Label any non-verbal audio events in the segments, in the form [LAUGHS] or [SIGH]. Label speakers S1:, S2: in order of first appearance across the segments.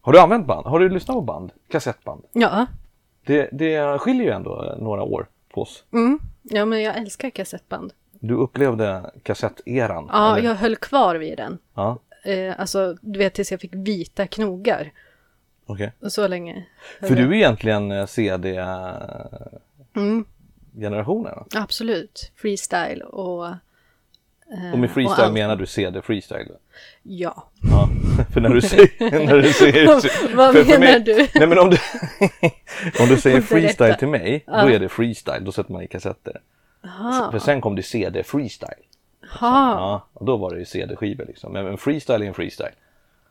S1: Har du använt band? Har du lyssnat på band? Kassettband?
S2: Ja.
S1: Det, det skiljer ju ändå eh, några år på oss.
S2: Mm. Ja, men jag älskar kassettband.
S1: Du upplevde kassetteran?
S2: Ja,
S1: eller?
S2: jag höll kvar vid den.
S1: ja.
S2: Eh, alltså, du vet tills jag fick vita knogar.
S1: Okej.
S2: Så länge. höll
S1: För
S2: jag.
S1: du är egentligen eh, CD-generationen?
S2: Mm, absolut. Freestyle och... eh,
S1: Och med freestyle
S2: allt.
S1: menar du CD-freestyle?
S2: Ja.
S1: Ja, [LAUGHS] för när du
S2: [LAUGHS]
S1: säger... När du säger
S2: Vad
S1: för, för
S2: menar
S1: mig,
S2: du?
S1: Nej men om du, [LAUGHS] om du säger
S2: Berätta.
S1: freestyle till mig, då är det freestyle, då sätter man i kassetter.
S2: Aha.
S1: För sen kom det CD-freestyle.
S2: Jaha.
S1: Ja, och då var det ju CD-skivor liksom. Men en freestyle är en freestyle.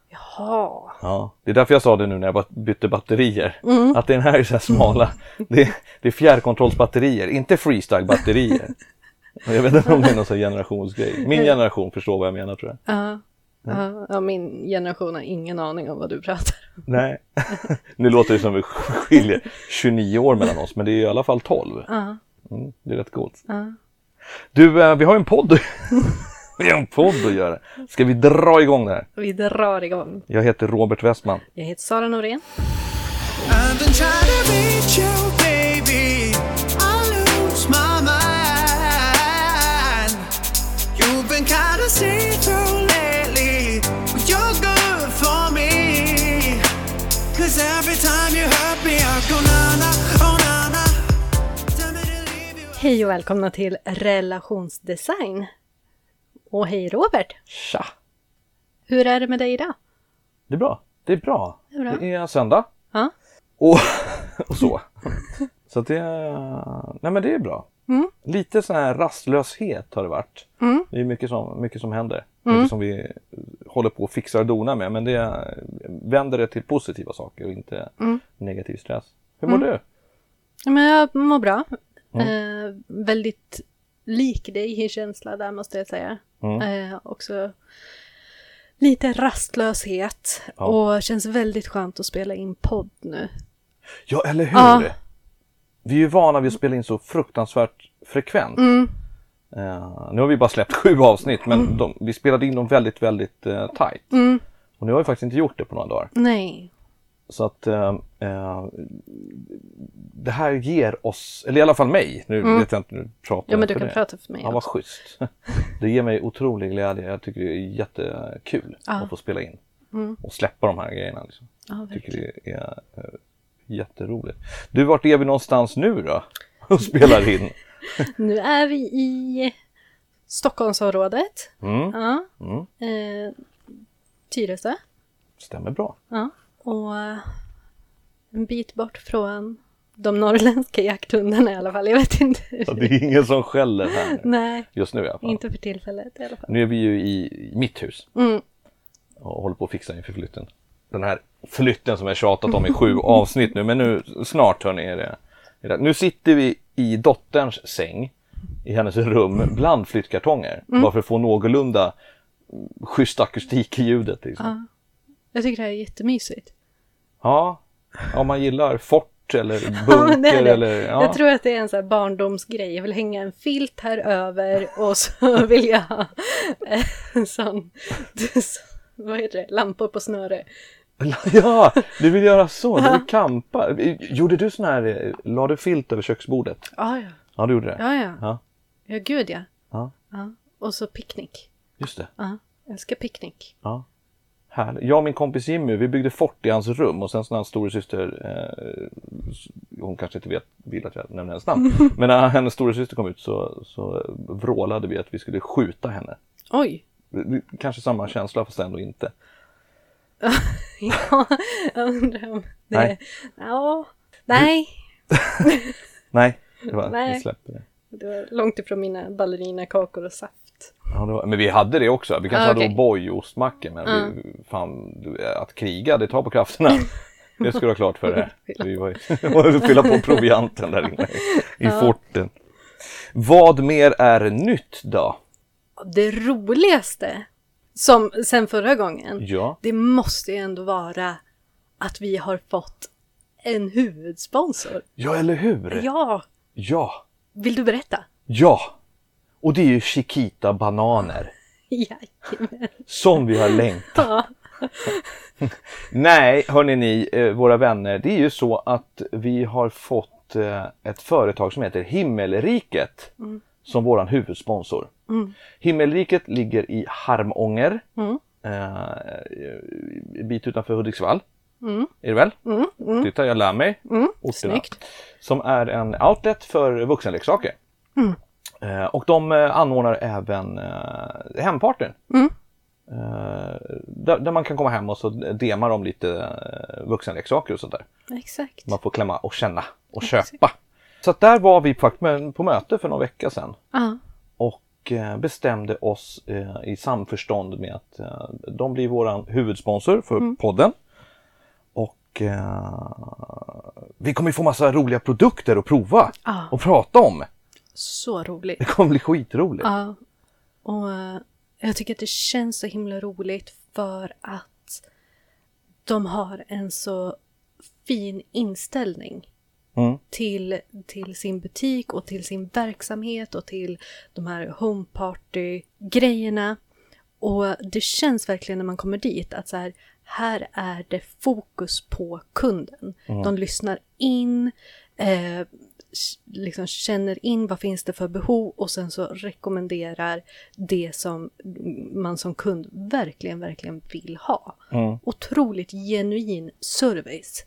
S2: Jaha.
S1: Ja, det är därför jag sa det nu när jag bat- bytte batterier.
S2: Mm.
S1: Att den här är så här smala. Det, är- det är fjärrkontrollsbatterier, inte freestyle-batterier.
S2: [LAUGHS]
S1: Och Jag vet inte om det är någon sån här generationsgrej. Min generation förstår vad jag menar tror jag.
S2: Ja. Ja, ja, min generation har ingen aning om vad du pratar om.
S1: Nej. [LAUGHS] nu låter det som vi skiljer 29 år mellan oss, men det är i alla fall 12.
S2: Ja.
S1: Mm, det är rätt coolt.
S2: Ja.
S1: Du, eh, vi har ju en podd. [LAUGHS] vi har en podd att göra. Ska vi dra igång det här?
S2: Vi drar igång.
S1: Jag heter Robert Westman.
S2: Jag heter Sara Norén.
S3: I've been trying to reach you, baby. I lose my mind. You've been kind of see through lately, but you're good for me. Cause every time you hurt me, I go na na, oh na na. Tell me to leave you.
S2: Hej och välkomna till Relationsdesign. Och hej Robert!
S1: Tja!
S2: Hur är det med dig idag?
S1: Det är bra. Det är bra.
S2: är bra.
S1: Det är söndag.
S2: Ja.
S1: Och, [LAUGHS] och så. Så att det, nej men det är bra. Lite sån här rastlöshet har det varit. Det är mycket som, mycket som händer. Mycket som vi håller på och fixar och donar med. Men det vänder det till positiva saker och inte negativ stress. Hur mår du?
S2: Ja, Men jag mår bra.
S1: Mm.
S2: Eh, väldigt lik dig i känsla där måste jag säga.
S1: Mm.
S2: Eh, också lite rastlöshet
S1: Ja.
S2: och känns väldigt skönt att spela in podd nu.
S1: Ja, eller hur?
S2: Ja.
S1: Vi är ju vana vid att spela in så fruktansvärt frekvent. Eh, nu har vi bara släppt sju avsnitt men de, vi spelade in dem väldigt, väldigt uh, tajt. Och nu har vi faktiskt inte gjort det på några dagar.
S2: Nej.
S1: Så att eh, eh, det här ger oss, eller i alla fall mig, nu vet jag inte, nu pratar
S2: Mm. Ja men
S1: jag
S2: du
S1: för
S2: kan
S1: dig.
S2: prata för mig
S1: Ja, vad
S2: också.
S1: schysst. [LAUGHS] Det ger mig otrolig glädje. Jag tycker det är jättekul
S2: Ah.
S1: att få spela in
S2: Mm.
S1: och släppa de här grejerna. Liksom.
S2: Ja,
S1: Jag tycker det är eh, jätteroligt. Du, vart är vi någonstans nu då? [LAUGHS] Och spelar
S2: [LAUGHS]
S1: in?
S2: Nu är vi i Stockholmsområdet.
S1: Mm.
S2: Ja.
S1: Mm.
S2: Eh, Tyresö.
S1: Stämmer bra.
S2: Ja. Och eh, en bit bort från de norrländska jakthundarna i alla fall. Jag vet inte.
S1: Ja, Det är ingen som skäller här nu.
S2: Nej,
S1: just nu i alla fall.
S2: inte för tillfället i alla fall.
S1: Nu är vi ju i mitt hus.
S2: Mm.
S1: och håller på att fixa inför flytten. Den här flytten som jag tjatat om i sju
S2: [LAUGHS]
S1: avsnitt nu, men nu snart hörni är det, är det. Nu sitter vi i dotterns säng i hennes rum bland flyttkartonger.
S2: Mm.
S1: Bara för att få någorlunda schysst akustik i ljudet. Liksom.
S2: Ja. Jag tycker det här är jättemysigt.
S1: Ja, om man gillar fort eller
S2: [LAUGHS] Ja, men det
S1: bunker
S2: är det.
S1: eller... Ja.
S2: Jag tror att det är en sån här barndomsgrej. Jag vill hänga en filt här över och så [LAUGHS] vill jag ha en sån, vad heter det, lampor på snöre.
S1: [LAUGHS] ja, du vill göra så, du vill campa. Gjorde du sån här, eh, la du filt över köksbordet?
S2: Ja, ja.
S1: Ah, Ja, du gjorde det.
S2: Ja, ja.
S1: Ja,
S2: Ja, gud ja.
S1: ja.
S2: ja. Och så picknick.
S1: just det.
S2: Ja, jag älskar picknick.
S1: Ja. Härligt. Jag och min kompis Jimmy, vi byggde fort i hans rum och sen så när hans storasyster, eh, s- hon kanske inte vet, vill att jag nämner hennes namn, men när hennes storasyster kom ut så, så vrålade vi att vi skulle skjuta henne.
S2: Oj!
S1: Kanske samma känsla fast ändå inte.
S2: [LAUGHS] Ja, jag undrar om det...
S1: Nej.
S2: Ja, nej.
S1: Nej, det var,
S2: Nej.
S1: vi släpper det.
S2: Det var långt ifrån mina ballerinakakor och saft.
S1: Ja, det var, men vi hade det också. Vi kanske
S2: Ah,
S1: hade
S2: okej. Ah.
S1: O'boy och ostmackor men vi, fan, du, att kriga det tar på
S2: [LAUGHS]
S1: krafterna. Det ska du ha klart för dig. Vi var [LAUGHS] ju- fylla på provianten där inne i
S2: Ah.
S1: forten. Vad mer är nytt då?
S2: Det roligaste, som sen förra gången,
S1: Ja,
S2: det måste ju ändå vara att vi har fått en huvudsponsor.
S1: ja eller hur?
S2: Ja!
S1: Ja,
S2: Vill du berätta? [LAUGHS]
S1: ja. Och det är ju Chiquita bananer
S2: Jajamän.
S1: som vi har längtat.
S2: Ja.
S1: [LAUGHS] Nej, hörni ni, eh, våra vänner. Det är ju så att vi har fått eh, ett företag som heter Himmelriket
S2: Mm.
S1: som våran huvudsponsor. Himmelriket ligger i Harmånger,
S2: Mm.
S1: eh, en bit utanför Hudiksvall.
S2: Mm.
S1: Är det väl? Titta, jag lär mig. orterna.
S2: snyggt.
S1: Som är en outlet för vuxenleksaker. Eh, och de eh, anordnar även eh, hempartyn. Eh, där, där man kan komma hem och så demar de lite eh, vuxenleksaker och sånt där.
S2: Exakt.
S1: Man får klämma och känna och köpa. Så att där var vi på, på möte för någon vecka sedan
S2: Ja.
S1: och eh, bestämde oss eh, i samförstånd med att eh, de blir våran huvudsponsor för podden. Och eh, vi kommer ju få massa roliga produkter att prova
S2: Ja.
S1: och prata om.
S2: Så
S1: [LAUGHS]
S2: roligt.
S1: Det kommer bli skitroligt.
S2: Ja. Och eh, jag tycker att det känns så himla roligt för att de har en så fin inställning
S1: Mm.
S2: till, till sin butik och till sin verksamhet och till de här homeparty-grejerna. Och det känns verkligen när man kommer dit att så här, här är det fokus på kunden. De lyssnar in, eh, k- liksom känner in vad finns det för behov och sen så rekommenderar det som man som kund verkligen, verkligen vill ha. Otroligt genuin service.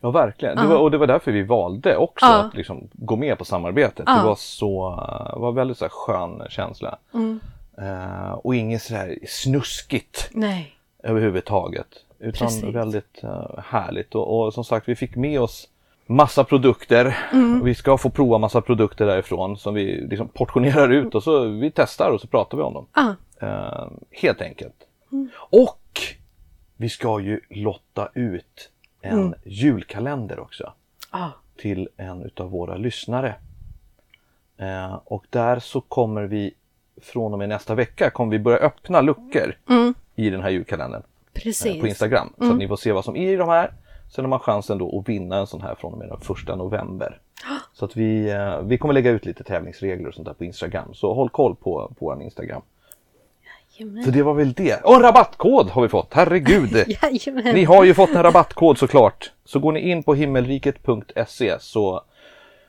S1: Ja, verkligen. Det var, och det var därför vi valde också
S2: Ja.
S1: att liksom gå med på samarbetet. Det
S2: Ja.
S1: var så, eh, var väldigt så här skön känsla.
S2: Mm.
S1: Eh, och inget så här snuskigt
S2: Nej.
S1: överhuvudtaget. Utan
S2: Precis.
S1: väldigt eh, härligt. Och, och som sagt, vi fick med oss massa produkter.
S2: Mm.
S1: Vi ska få prova massa produkter därifrån som vi liksom portionerar ut och så vi testar och så pratar vi om dem.
S2: Ah,
S1: Eh, helt enkelt. Och vi ska ju lotta ut en julkalender också
S2: ah.
S1: till en utav våra lyssnare. Eh, och där så kommer vi från och med nästa vecka kommer vi börja öppna luckor i den här julkalendern eh, på
S2: Precis.
S1: Instagram. Så att ni får se vad som är i de här. Sen har man chansen då att vinna en sån här från och med den första november. Så att vi, eh, vi kommer lägga ut lite tävlingsregler och sånt där på Instagram. Så håll koll på, på vår Instagram.
S2: Jajamän.
S1: Så det var väl det. Och en rabattkod har vi fått,
S2: [LAUGHS]
S1: herregud!
S2: Jajamän.
S1: Ni har ju fått en rabattkod såklart. Så går ni in på himmelriket.se E så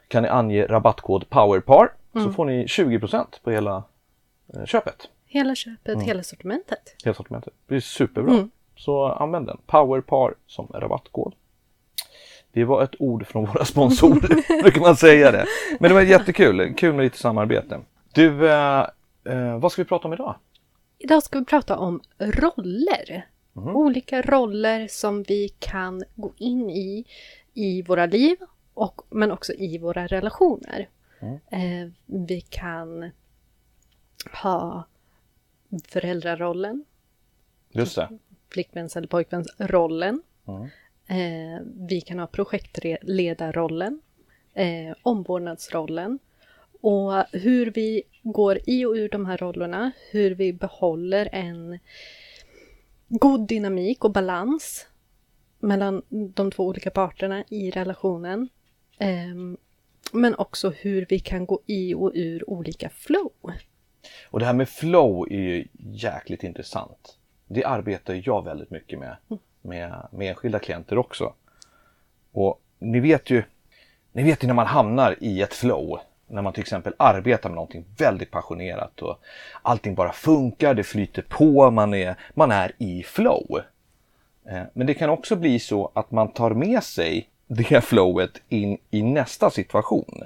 S1: kan ni ange rabattkod POWERPAR så får ni 20% på hela eh, köpet.
S2: Hela köpet,
S1: Mm.
S2: hela sortimentet.
S1: Hela sortimentet. Det är superbra. Så använd den. POWERPAR som rabattkod. Det var ett ord från våra sponsorer, brukar man säga det. Men det var jättekul. Kul med lite samarbete. Du, eh, eh, vad ska vi prata om idag?
S2: Idag ska vi prata om roller.
S1: Mhm.
S2: Olika roller som vi kan gå in i, i våra liv, och, men också i våra relationer.
S1: Mm.
S2: Eh, vi kan ha föräldrarollen,
S1: Just det.
S2: flickväns eller pojkvänsrollen. Eh, vi kan ha projektledarrollen, eh, omvårdnadsrollen och hur vi går i och ur de här rollerna, hur vi behåller en god dynamik och balans mellan de två olika parterna i relationen. Ehm, men också hur vi kan gå i och ur olika flow.
S1: Och det här med flow är ju jäkligt intressant. Det arbetar jag väldigt mycket med, med, med enskilda klienter också. Och ni vet ju, ni vet ju när man hamnar i ett flow, när man till exempel arbetar med någonting väldigt passionerat och allting bara funkar, det flyter på, man är, man är i flow. Eh, Men det kan också bli så att man tar med sig det flowet in i nästa situation,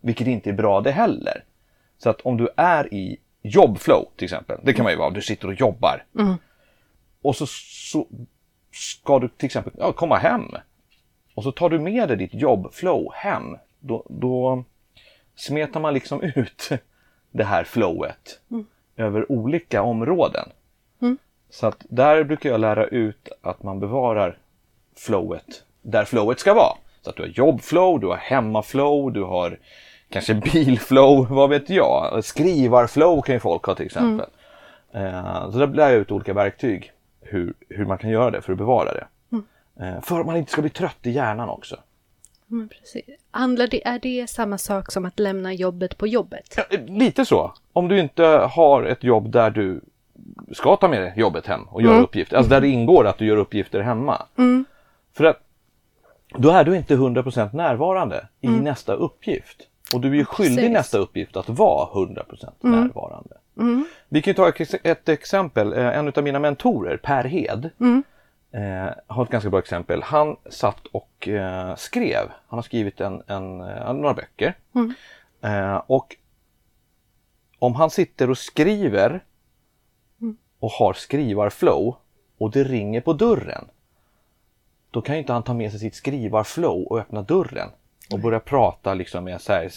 S1: vilket inte är bra det heller. Så att om du är i jobbflow till exempel, det kan man ju vara, du sitter och jobbar. Och så, så ska du till exempel ja, komma hem. Och så tar du med dig ditt jobbflow hem. Då, då smetar man liksom [LAUGHS] ut det här flowet över olika områden. Så att där brukar jag lära ut att man bevarar flowet där flowet ska vara. Så att du har jobbflow, du har hemmaflow, du har kanske [LAUGHS] bilflow, vad vet jag. Skrivarflow kan ju folk ha till exempel. Eh, Så där lär jag ut olika verktyg hur, hur man kan göra det för att bevara det. Eh, För att man inte ska bli trött i hjärnan också.
S2: Men precis. Handlar det, är det samma sak som att lämna jobbet på jobbet?
S1: Eh, Lite så. Om du inte har ett jobb där du ska ta med dig jobbet hem och göra uppgifter. Alltså där det ingår att du gör uppgifter hemma. För att då är du inte 100% närvarande i nästa uppgift. Och du är ju skyldig
S2: Precis.
S1: nästa uppgift att vara 100% närvarande. Vi kan ju ta ett- ett exempel. Eh, En av mina mentorer, Per Hed, eh, har ett ganska bra exempel. Han satt och eh, skrev. Han har skrivit en, en, eh, några böcker. Eh, och om han sitter och skriver och har skrivarflow och det ringer på dörren. Då kan ju inte han ta med sig sitt skrivarflow och öppna dörren och börja prata liksom med så här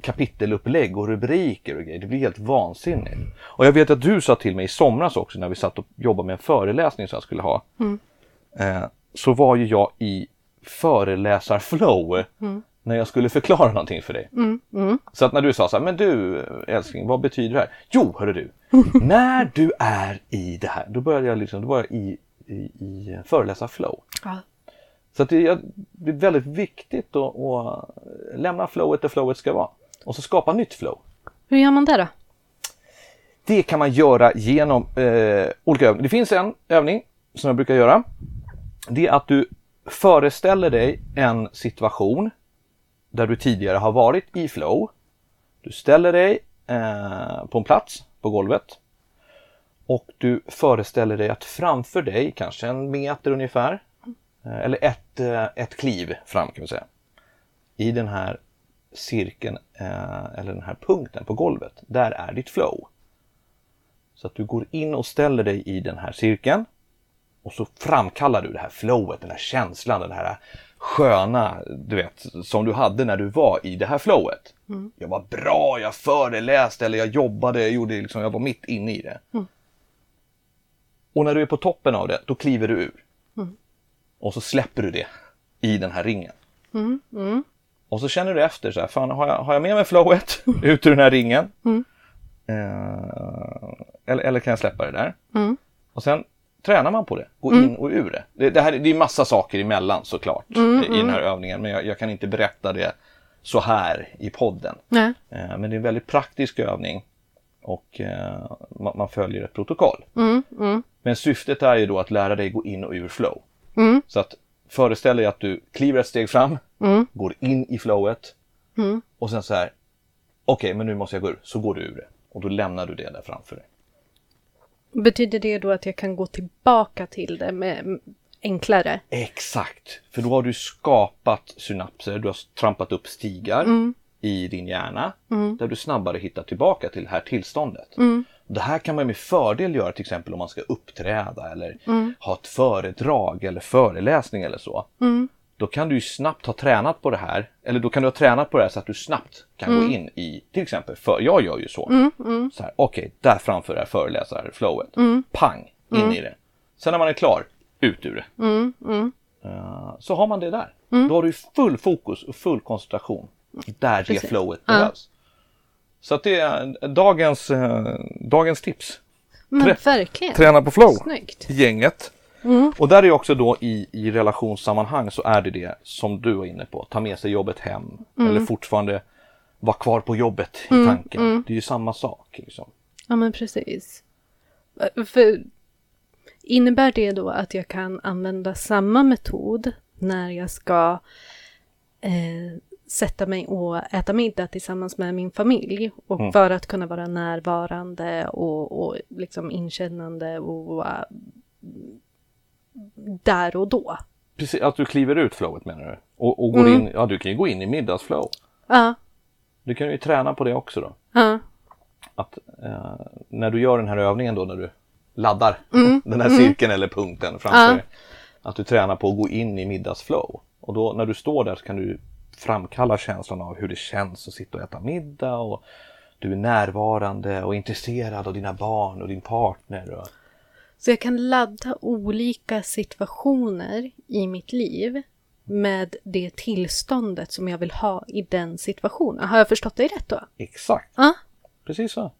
S1: kapitelupplägg och rubriker och grejer. Det blir helt vansinnigt. Och jag vet att du sa till mig i somras också när vi satt och jobbade med en föreläsning som jag skulle ha. Eh, så var ju jag i föreläsarflow när jag skulle förklara någonting för dig. Så att när du sa så här, men du älskling, vad betyder det här? Jo, hörru du, [LAUGHS] när du är i det här, då började jag liksom, då var jag i, i, i föreläsarflow.
S2: Ja.
S1: Så att det, är- det är väldigt viktigt att, att lämna flowet där flowet ska vara och så skapa nytt flow.
S2: Hur gör man det då?
S1: Det kan man göra genom eh, olika övningar. Det finns en övning som jag brukar göra. Det är att du föreställer dig en situation där du tidigare har varit i flow. Du ställer dig eh, på en plats på golvet och du föreställer dig att framför dig, kanske en meter ungefär, eh, eller ett, eh, ett kliv fram kan vi säga, i den här cirkeln eh, eller den här punkten på golvet, där är ditt flow. Så att du går in och ställer dig i den här cirkeln. Och så framkallar du det här flowet, den här känslan, den här sköna, du vet, som du hade när du var i det här flowet. Jag var bra, jag föreläste eller jag jobbade, jag, gjorde liksom, jag var mitt inne i det. Och när du är på toppen av det, då kliver du ur. Och så släpper du det i den här ringen. Och så känner du efter, så här, fan, har, jag, har jag med mig flowet [LAUGHS] ut ur den här ringen? Eh, eller, eller kan jag släppa det där? Och sen tränar man på det, gå in och ur det. Det, det, här, det är massa saker emellan såklart i den här övningen, men jag, jag kan inte berätta det så här i podden.
S2: Nej.
S1: Eh, men det är en väldigt praktisk övning och eh, man, man följer ett protokoll. Men syftet är ju då att lära dig gå in och ur flow. Så att föreställ dig att du kliver ett steg fram, går in i flowet och sen så här, okej men nu måste jag gå ur, så går du ur det. Och då lämnar du det där framför dig.
S2: Betyder det då att jag kan gå tillbaka till det med enklare?
S1: Exakt, för då har du skapat synapser, du har trampat upp stigar i din hjärna där du snabbare hittar tillbaka till det här tillståndet. Det här kan man med fördel göra till exempel om man ska uppträda eller ha ett föredrag eller föreläsning eller så. Då kan du ju snabbt ha tränat på det här, eller då kan du ha tränat på det här så att du snabbt kan gå in i till exempel, för jag gör ju så. så här, Okej, där framför är föreläsarflowet. Pang, in i det. Sen när man är klar, ut ur det. Eh, så har man det där. Då har du full fokus och full koncentration där det flowet behövs. Så att det är dagens, eh, dagens tips.
S2: Men
S1: Trä-
S2: verkligen.
S1: Träna på flow.
S2: Snyggt.
S1: Gänget. Och där är också då i, i relationssammanhang så är det det som du var inne på. Ta med sig jobbet hem. Eller fortfarande vara kvar på jobbet i tanken. Det är ju samma sak. Liksom.
S2: Ja, men precis. För innebär det då att jag kan använda samma metod när jag ska eh, sätta mig och äta middag tillsammans med min familj? Och för att kunna vara närvarande och, och liksom inkännande och eh, där och då.
S1: Precis, att du kliver ut flowet menar du? Och, och går in, ja du kan ju gå in i middagsflow.
S2: Ja,
S1: Du kan ju träna på det också då.
S2: ja,
S1: att eh, när du gör den här övningen då när du laddar den här cirkeln eller punkten framför dig. Att du tränar på att gå in i middagsflow. Och då när du står där så kan du framkalla känslan av hur det känns att sitta och äta middag och du är närvarande och intresserad av dina barn och din partner. Och,
S2: Så jag kan ladda olika situationer i mitt liv med det tillståndet som jag vill ha i den situationen. Har jag förstått dig rätt då?
S1: exakt,
S2: Ja,
S1: precis så.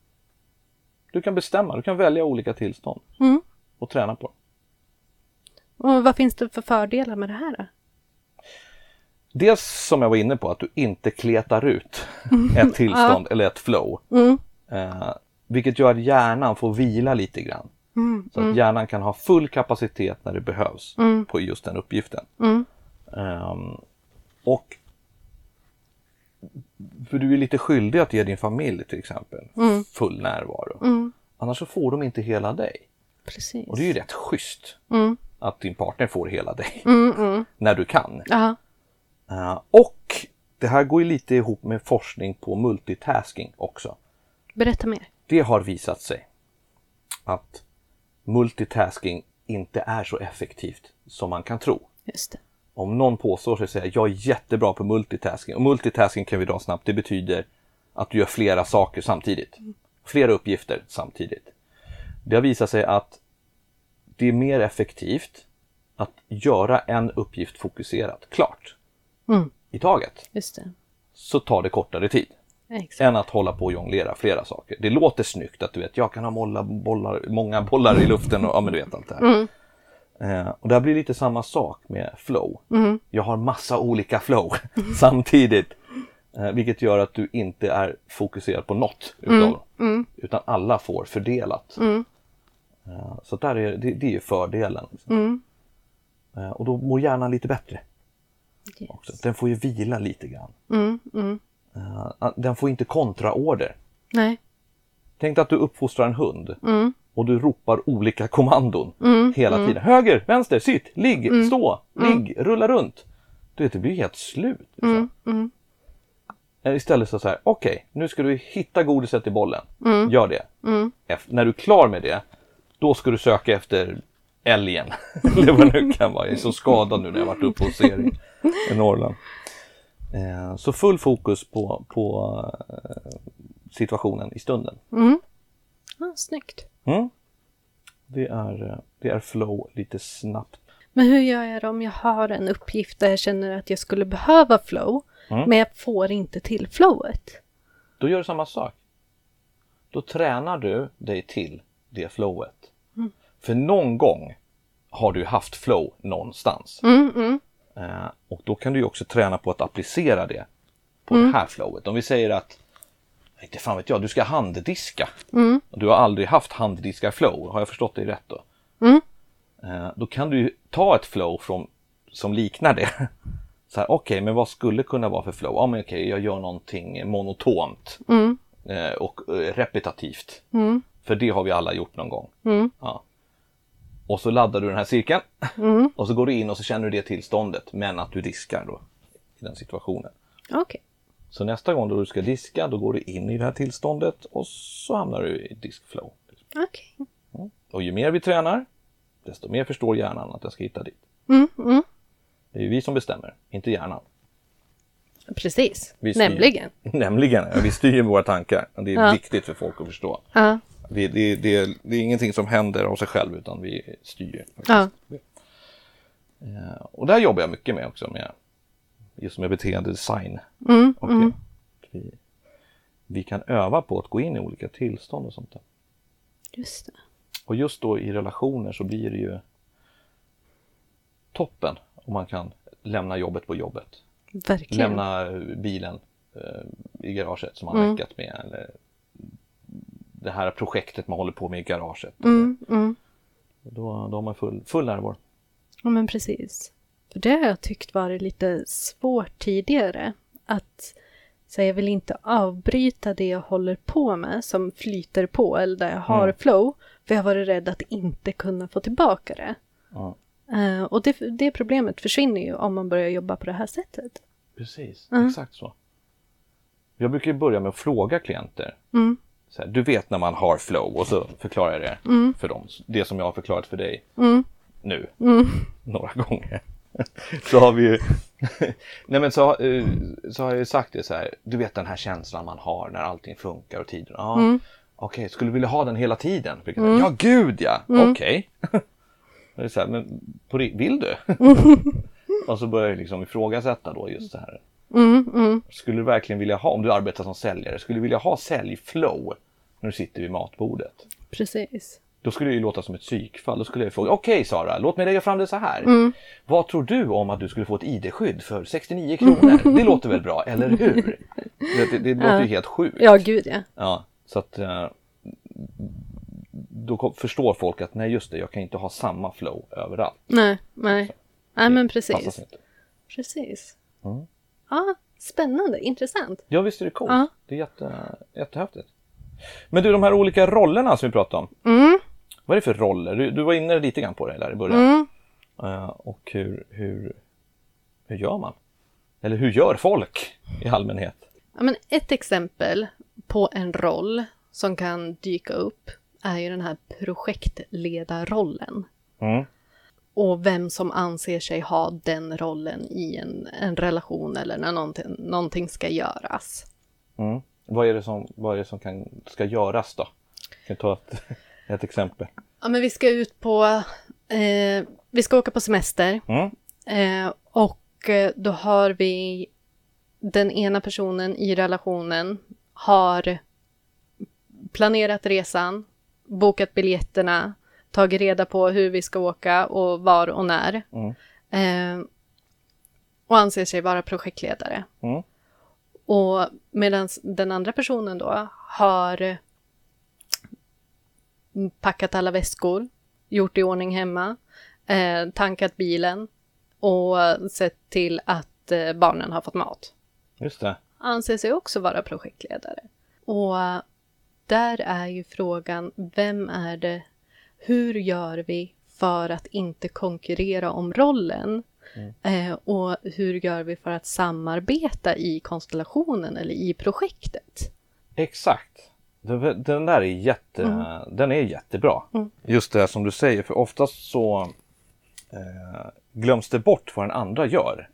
S1: Du kan bestämma, du kan välja olika tillstånd
S2: Mm.
S1: och träna på dem.
S2: och vad finns det för fördelar med det här då?
S1: Dels som jag var inne på att du inte kletar ut ett tillstånd eller ett flow. Eh, vilket gör att hjärnan får vila lite grann. så att hjärnan kan ha full kapacitet när det behövs på just den uppgiften. Ehm, och för du är lite skyldig att ge din familj till exempel full närvaro. Annars så får de inte hela dig.
S2: Precis.
S1: Och det är ju rätt schysst att din partner får hela dig [LAUGHS] när du kan.
S2: Ja,
S1: Eh, och det här går ju lite ihop med forskning på multitasking också.
S2: berätta mer.
S1: Det har visat sig att multitasking inte är så effektivt som man kan tro.
S2: Just det.
S1: Om någon påstår sig säga jag är jättebra på multitasking och multitasking kan vi dra snabbt, det betyder att du gör flera saker samtidigt. Flera uppgifter samtidigt. Det har visat sig att det är mer effektivt att göra en uppgift fokuserat klart i taget
S2: Just det.
S1: så tar det kortare tid
S2: Exakt.
S1: än att hålla på och jonglera flera saker. Det låter snyggt att du vet, jag kan ha molla, bollar, många bollar i luften och ja, men du vet allt det här. Eh, och det här blir lite samma sak med flow. Jag har massa olika flow [LAUGHS] samtidigt. Eh, vilket gör att du inte är fokuserad på något utav dem. Utan alla får fördelat. Eh, så där är, det, det är ju fördelen. liksom. Eh, och då mår hjärnan lite bättre.
S2: Yes.
S1: Också. Den får ju vila lite grann. Eh, Den får inte kontraorder.
S2: Nej,
S1: Tänk dig att du uppfostrar en hund och du ropar olika kommandon hela tiden. Höger, vänster, sitt, ligg, stå, ligg, rulla runt. Du vet, det blir helt slut. liksom. Eh, Istället så säger okej, nu ska du hitta godiset i bollen. Gör det. Ef- när du är klar med det, då ska du söka efter älgen. [LAUGHS] Eller vad det nu kan vara. Jag är så skadad nu när jag varit uppe och ser i, i Norrland. Eh, så full fokus på, på eh, situationen i stunden.
S2: ah, snyggt.
S1: Det är, eh, det är flow lite snabbt.
S2: Men hur gör jag då om jag har en uppgift där jag känner att jag skulle behöva flow, men jag får inte till flowet?
S1: Då gör du samma sak. Då tränar du dig till det flowet. För någon gång har du haft flow någonstans. Eh, och då kan du ju också träna på att applicera det på det här flowet. Om vi säger att inte fan vet jag, du ska handdiska. Och du har aldrig haft handdiskar-flow, har jag förstått dig rätt då? Eh, då kan du ju ta ett flow från, som liknar det. [LAUGHS] Så här, okej, men vad skulle kunna vara för flow? Ja, men okej, jag gör någonting monotont eh, och eh, repetitivt. För det har vi alla gjort någon gång. Ja. Och så laddar du den här cirkeln [LAUGHS] och så går du in och så känner du det tillståndet, men att du diskar då i den situationen.
S2: Okej.
S1: Så nästa gång då du ska diska, då går du in i det här tillståndet och så hamnar du i diskflow.
S2: Okej.
S1: Och ju mer vi tränar, desto mer förstår hjärnan att den ska hitta dit. Det är ju vi som bestämmer, inte hjärnan.
S2: Precis.
S1: Vi styr.
S2: Nämligen.
S1: [LAUGHS] Nämligen, ja, vi styr våra tankar. Och Det är
S2: Ja.
S1: viktigt för folk att förstå.
S2: Ja.
S1: Det, det, det, det är ingenting som händer av sig själv utan vi styr.
S2: Ja.
S1: Eh, Och där jobbar jag mycket med också, med, just med beteendedesign.
S2: Mm,
S1: Och eh, Vi, vi kan öva på att gå in i olika tillstånd och sånt där.
S2: Just det.
S1: Och just då i relationer så blir det ju toppen om man kan lämna jobbet på jobbet.
S2: Verkligen.
S1: lämna bilen eh, i garaget som man meckat med. Eller det här projektet man håller på med i garaget.
S2: Mm.
S1: Då, då har man full, full närvaro.
S2: Ja, men precis. För det har jag tyckt varit lite svårt tidigare. Att så här, jag vill inte avbryta det jag håller på med som flyter på eller där jag har
S1: Mm.
S2: flow. För jag har varit rädd att inte kunna få tillbaka det.
S1: Ja.
S2: Eh, och det, det problemet försvinner ju om man börjar jobba på det här sättet.
S1: Precis, exakt så. Jag brukar ju börja med att fråga klienter. Så här, du vet när man har flow och så förklarar jag det för dem. Det som jag har förklarat för dig nu, [LAUGHS] några gånger. [LAUGHS] så har vi ju... [LAUGHS] Nej men så, eh, så har jag ju sagt det så här, du vet den här känslan man har när allting funkar och tiden. Ja, Okej, skulle du vilja ha den hela tiden? Brukar jag säga, Ja, gud ja! Okej. [LAUGHS] Det är så här, men på, ri- vill du? Och så börjar jag liksom ifrågasätta då just det här. Skulle du verkligen vilja ha, om du arbetar som säljare, skulle du vilja ha säljflow när du sitter vid matbordet?
S2: Precis.
S1: Då skulle det ju låta som ett psykfall. Då skulle jag fråga, okej Sara, låt mig lägga fram det så här. Vad tror du om att du skulle få ett ID-skydd för 69 kronor? Det låter väl bra, eller hur? Det, det, det låter ju helt sjukt.
S2: Ja, gud ja.
S1: Ja, så att eh, då kom- förstår folk att nej just det, jag kan inte ha samma flow överallt.
S2: Nej, nej. Nej, men precis.
S1: Alltså, Passar inte.
S2: Precis.
S1: Mm.
S2: Ja, spännande, intressant.
S1: Ja visst är det coolt.
S2: Ja.
S1: Det är jätte, jättehäftigt. Men du, de här olika rollerna som vi pratade om.
S2: Mm,
S1: Vad är det för roller? Du, du var inne lite grann på det där i början.
S2: mm,
S1: Eh, och hur, hur, hur gör man? Eller hur gör folk i allmänhet?
S2: Ja, men ett exempel på en roll som kan dyka upp är ju den här projektledarrollen.
S1: Mm.
S2: Och vem som anser sig ha den rollen i en, en relation eller när någonting, någonting ska göras.
S1: Mm. Vad är det som, vad är det som kan, ska göras då? Jag kan ta ett, [LAUGHS] ett exempel.
S2: Ja, men vi ska ut på... Eh, vi ska åka på semester.
S1: Mm.
S2: Eh, och eh, då har vi den ena personen i relationen har planerat resan, bokat biljetterna, tagit reda på hur vi ska åka och var och när.
S1: Mm.
S2: Eh, och anser sig vara projektledare.
S1: Mm.
S2: Och medan den andra personen då har packat alla väskor, gjort i ordning hemma, eh, tankat bilen och sett till att eh, barnen har fått mat.
S1: Just det.
S2: Anser sig också vara projektledare. Och där är ju frågan, vem är det, hur gör vi för att inte konkurrera om rollen?
S1: Mm.
S2: Eh, och hur gör vi för att samarbeta i konstellationen eller i projektet?
S1: Exakt. Den, den där är, jätte, den är jättebra. Just det som du säger, för oftast så eh, glöms det bort vad den andra gör.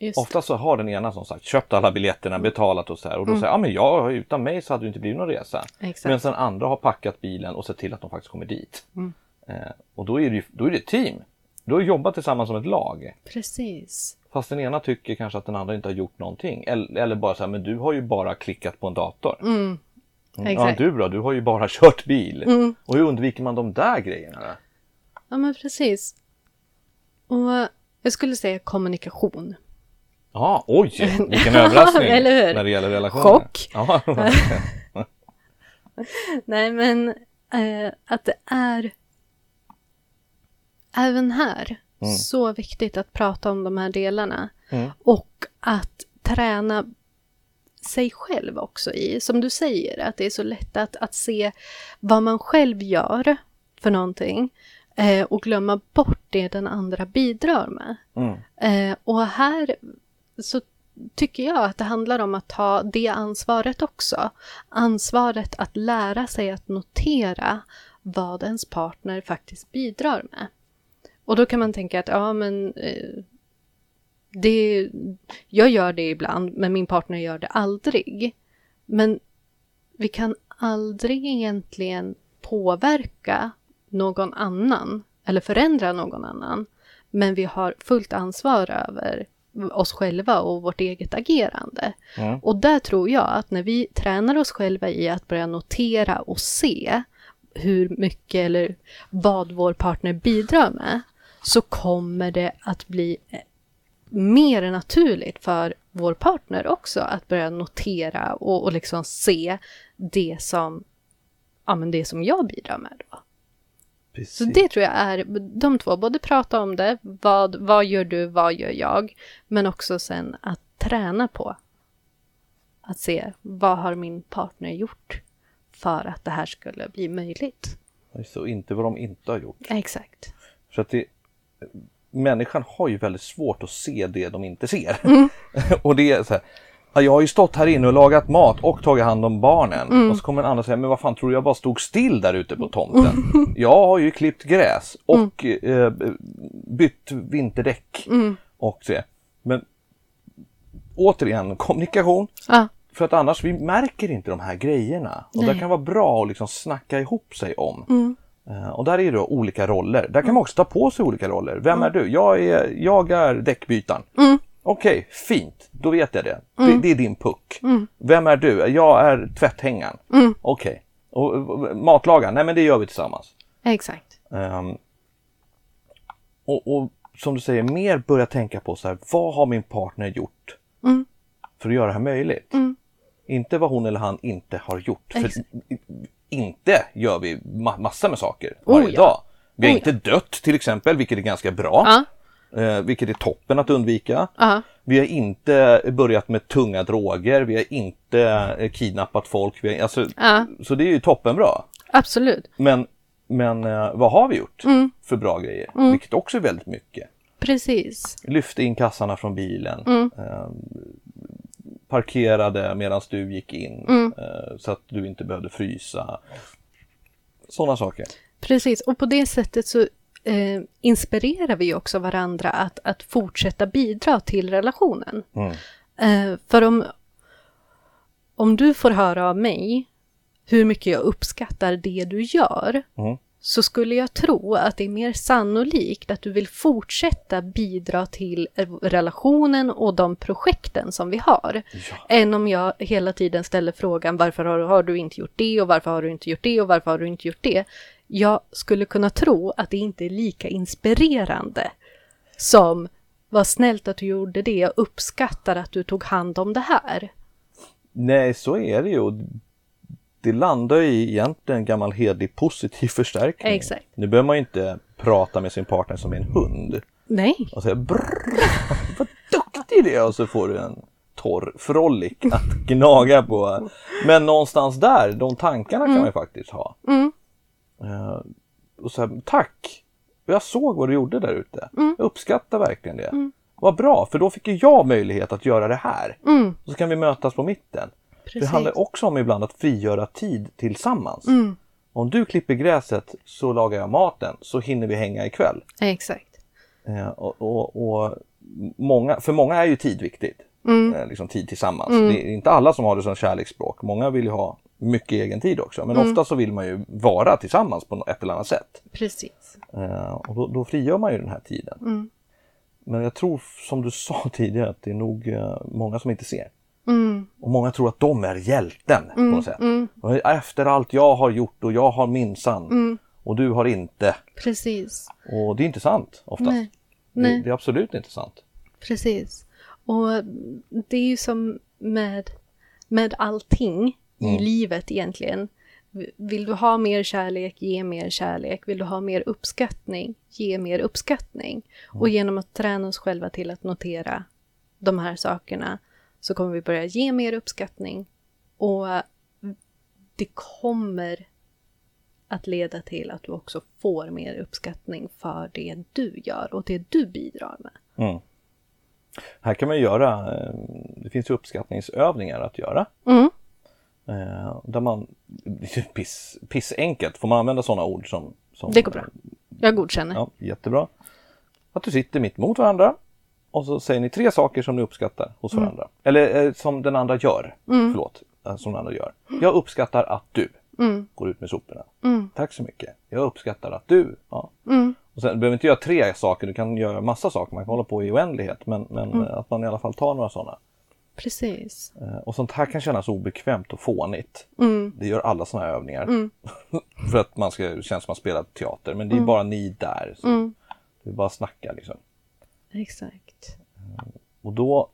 S2: Just
S1: Ofta så har den ena som sagt köpt alla biljetterna, betalat och så här. Och då säger ja men jag, utan mig så hade det inte blivit någon resa.
S2: Exakt.
S1: Medan den andra har packat bilen och sett till att de faktiskt kommer dit. Eh, och då är, det, ju- då är det ett team. Då har jobbat tillsammans som ett lag.
S2: Precis.
S1: Fast den ena tycker kanske att den andra inte har gjort någonting. Eller, eller bara så här, men du har ju bara klickat på en dator. Mm, ja,
S2: Exakt. Mm.
S1: du då? Du har ju bara [LAUGHS] kört bil. Och hur undviker man de där grejerna?
S2: Ja, men precis. Och jag skulle säga kommunikation.
S1: Ja, oj!
S2: [LAUGHS]
S1: Vilken överraskning
S2: Eller hur?
S1: när det gäller relationer.
S2: Chock.
S1: [LAUGHS] Ja,
S2: Nej, men eh, att det är även här så viktigt att prata om de här delarna. Och att träna sig själv också i, som du säger, att det är så lätt att, att se vad man själv gör för någonting eh, och glömma bort det den andra bidrar med.
S1: mm.
S2: Eh, och här så tycker jag att det handlar om att ta det ansvaret också. Ansvaret att lära sig att notera vad ens partner faktiskt bidrar med. Och då kan man tänka att ja, men eh, det, jag gör det ibland, men min partner gör det aldrig. Men vi kan aldrig egentligen påverka någon annan eller förändra någon annan. Men vi har fullt ansvar över oss själva och vårt eget agerande.
S1: Mm.
S2: Och där tror jag att när vi tränar oss själva i att börja notera och se hur mycket eller vad vår partner bidrar med så kommer det att bli eh, mer naturligt för vår partner också att börja notera och, och liksom se det som, ja, men det som jag bidrar med. Då. Så
S1: Precis.
S2: det tror jag är de två, både prata om det, vad, vad gör du, vad gör jag, men också sen att träna på att se vad har min partner gjort för att det här skulle bli möjligt.
S1: Så inte vad de inte har gjort.
S2: Exakt.
S1: För att det, människan har ju väldigt svårt att se det de inte ser. [LAUGHS] och det är så här, "Ja, jag har ju stått här inne och lagat mat och tagit hand om barnen. Och så kommer en annan säga, men vad fan tror du jag bara stod still där ute på tomten? jag har ju klippt gräs och eh, bytt vinterdäck. Och så. Men återigen, kommunikation.
S2: Ja,
S1: För att annars, vi märker inte de här grejerna. Och det kan vara bra att liksom snacka ihop sig om. Eh, Och där är det då olika roller. Där kan man också ta på sig olika roller. Vem är du? Jag är, jag är däckbytaren. Okej, fint. Då vet jag det. Det, det är din puck. Vem är du? Jag är tvätthängaren. Okej. Och, och, matlagaren? Nej, men det gör vi tillsammans.
S2: exakt.
S1: Ehm, och, och som du säger, mer börja tänka på så här, vad har min partner gjort
S2: Mm.
S1: för att göra det här möjligt? Inte vad hon eller han inte har gjort. För
S2: Exakt.
S1: inte gör vi ma- massa med saker
S2: Oh,
S1: varje
S2: ja.
S1: dag. Vi har
S2: Oh,
S1: inte dött till exempel, vilket är ganska bra.
S2: Ja.
S1: Eh, vilket är toppen att undvika.
S2: Ja.
S1: Vi har inte börjat med tunga droger, vi har inte eh, kidnappat folk. Vi har, alltså,
S2: Ja.
S1: Så det är ju toppenbra.
S2: Absolut.
S1: Men, men eh, vad har vi gjort för bra grejer? Vilket också är väldigt mycket.
S2: Precis.
S1: Lyfte in kassarna från bilen. Eh, parkerade medan du gick in eh, så att du inte behövde frysa. Sådana saker.
S2: Precis, och på det sättet så eh, inspirerar vi ju också varandra att, att fortsätta bidra till relationen. Eh, för om, om du får höra av mig hur mycket jag uppskattar det du gör, så skulle jag tro att det är mer sannolikt att du vill fortsätta bidra till eh, relationen och de projekten som vi har. Än om jag hela tiden ställer frågan varför har, har du inte gjort det och varför har du inte gjort det och varför har du inte gjort det. Jag skulle kunna tro att det inte är lika inspirerande som vad snällt att du gjorde det, jag uppskattar att du tog hand om det här.
S1: Nej, så är det ju. Och Det landar ju i egentligen en gammal hederlig positiv förstärkning.
S2: Exakt.
S1: Nu behöver man ju inte prata med sin partner som en hund.
S2: Nej,
S1: och säger brrr, vad duktig du är och så får du en torr frolic att gnaga på. Men någonstans där, de tankarna kan man ju faktiskt ha. Eh, och så här, tack! Jag såg vad du gjorde där ute. Jag uppskattar verkligen det. Vad bra, för då fick ju jag möjlighet att göra det här. Och så kan vi mötas på mitten. Det
S2: Precis.
S1: handlar också om ibland att frigöra tid tillsammans. Om du klipper gräset så lagar jag maten så hinner vi hänga ikväll.
S2: exakt.
S1: Eh, och, och, och många, för många är ju tid viktigt. Eh, liksom tid tillsammans. Det är inte alla som har det som kärleksspråk. Många vill ju ha mycket egen tid också. Men ofta så vill man ju vara tillsammans på ett eller annat sätt.
S2: Precis.
S1: Eh, och då, då frigör man ju den här tiden. Men jag tror som du [LAUGHS] sa tidigare att det är nog eh, många som inte ser. Och många tror att de är hjälten på något sätt. Och Efter allt jag har gjort och jag har minsann och du har inte.
S2: Precis.
S1: Och det är inte sant oftast.
S2: Nej.
S1: Det,
S2: Nej.
S1: det är absolut inte sant.
S2: Precis. Och det är ju som med, med allting i livet egentligen. Vill du ha mer kärlek, ge mer kärlek. Vill du ha mer uppskattning, ge mer uppskattning. Och genom att träna oss själva till att notera de här sakerna så kommer vi börja ge mer uppskattning. Och det kommer att leda till att du också får mer uppskattning för det du gör och det du bidrar med.
S1: Här kan man ju göra, eh, det finns ju uppskattningsövningar att göra. Eh, Där man, [LAUGHS] det är ju piss, pissenkelt, får man använda sådana ord som, som...
S2: Det går bra. Jag godkänner.
S1: Ja, jättebra. Att du sitter mitt mot varandra och så säger ni tre saker som ni uppskattar hos varandra. Eller eh, som den andra gör. Förlåt, eh, som den andra gör. Jag uppskattar att du går ut med soporna. Tack så mycket. Jag uppskattar att du. Ja. Och sen, du behöver inte göra tre saker, du kan göra massa saker. Man kan hålla på i oändlighet. Men, men eh, att man i alla fall tar några sådana.
S2: Precis.
S1: Eh, Och sånt här kan kännas obekvämt och fånigt. Det gör alla såna här övningar. [LAUGHS] För att man ska, det känns som att man spelar teater. Men det är bara ni där. Så Det är bara att snacka liksom.
S2: Exakt.
S1: Och då,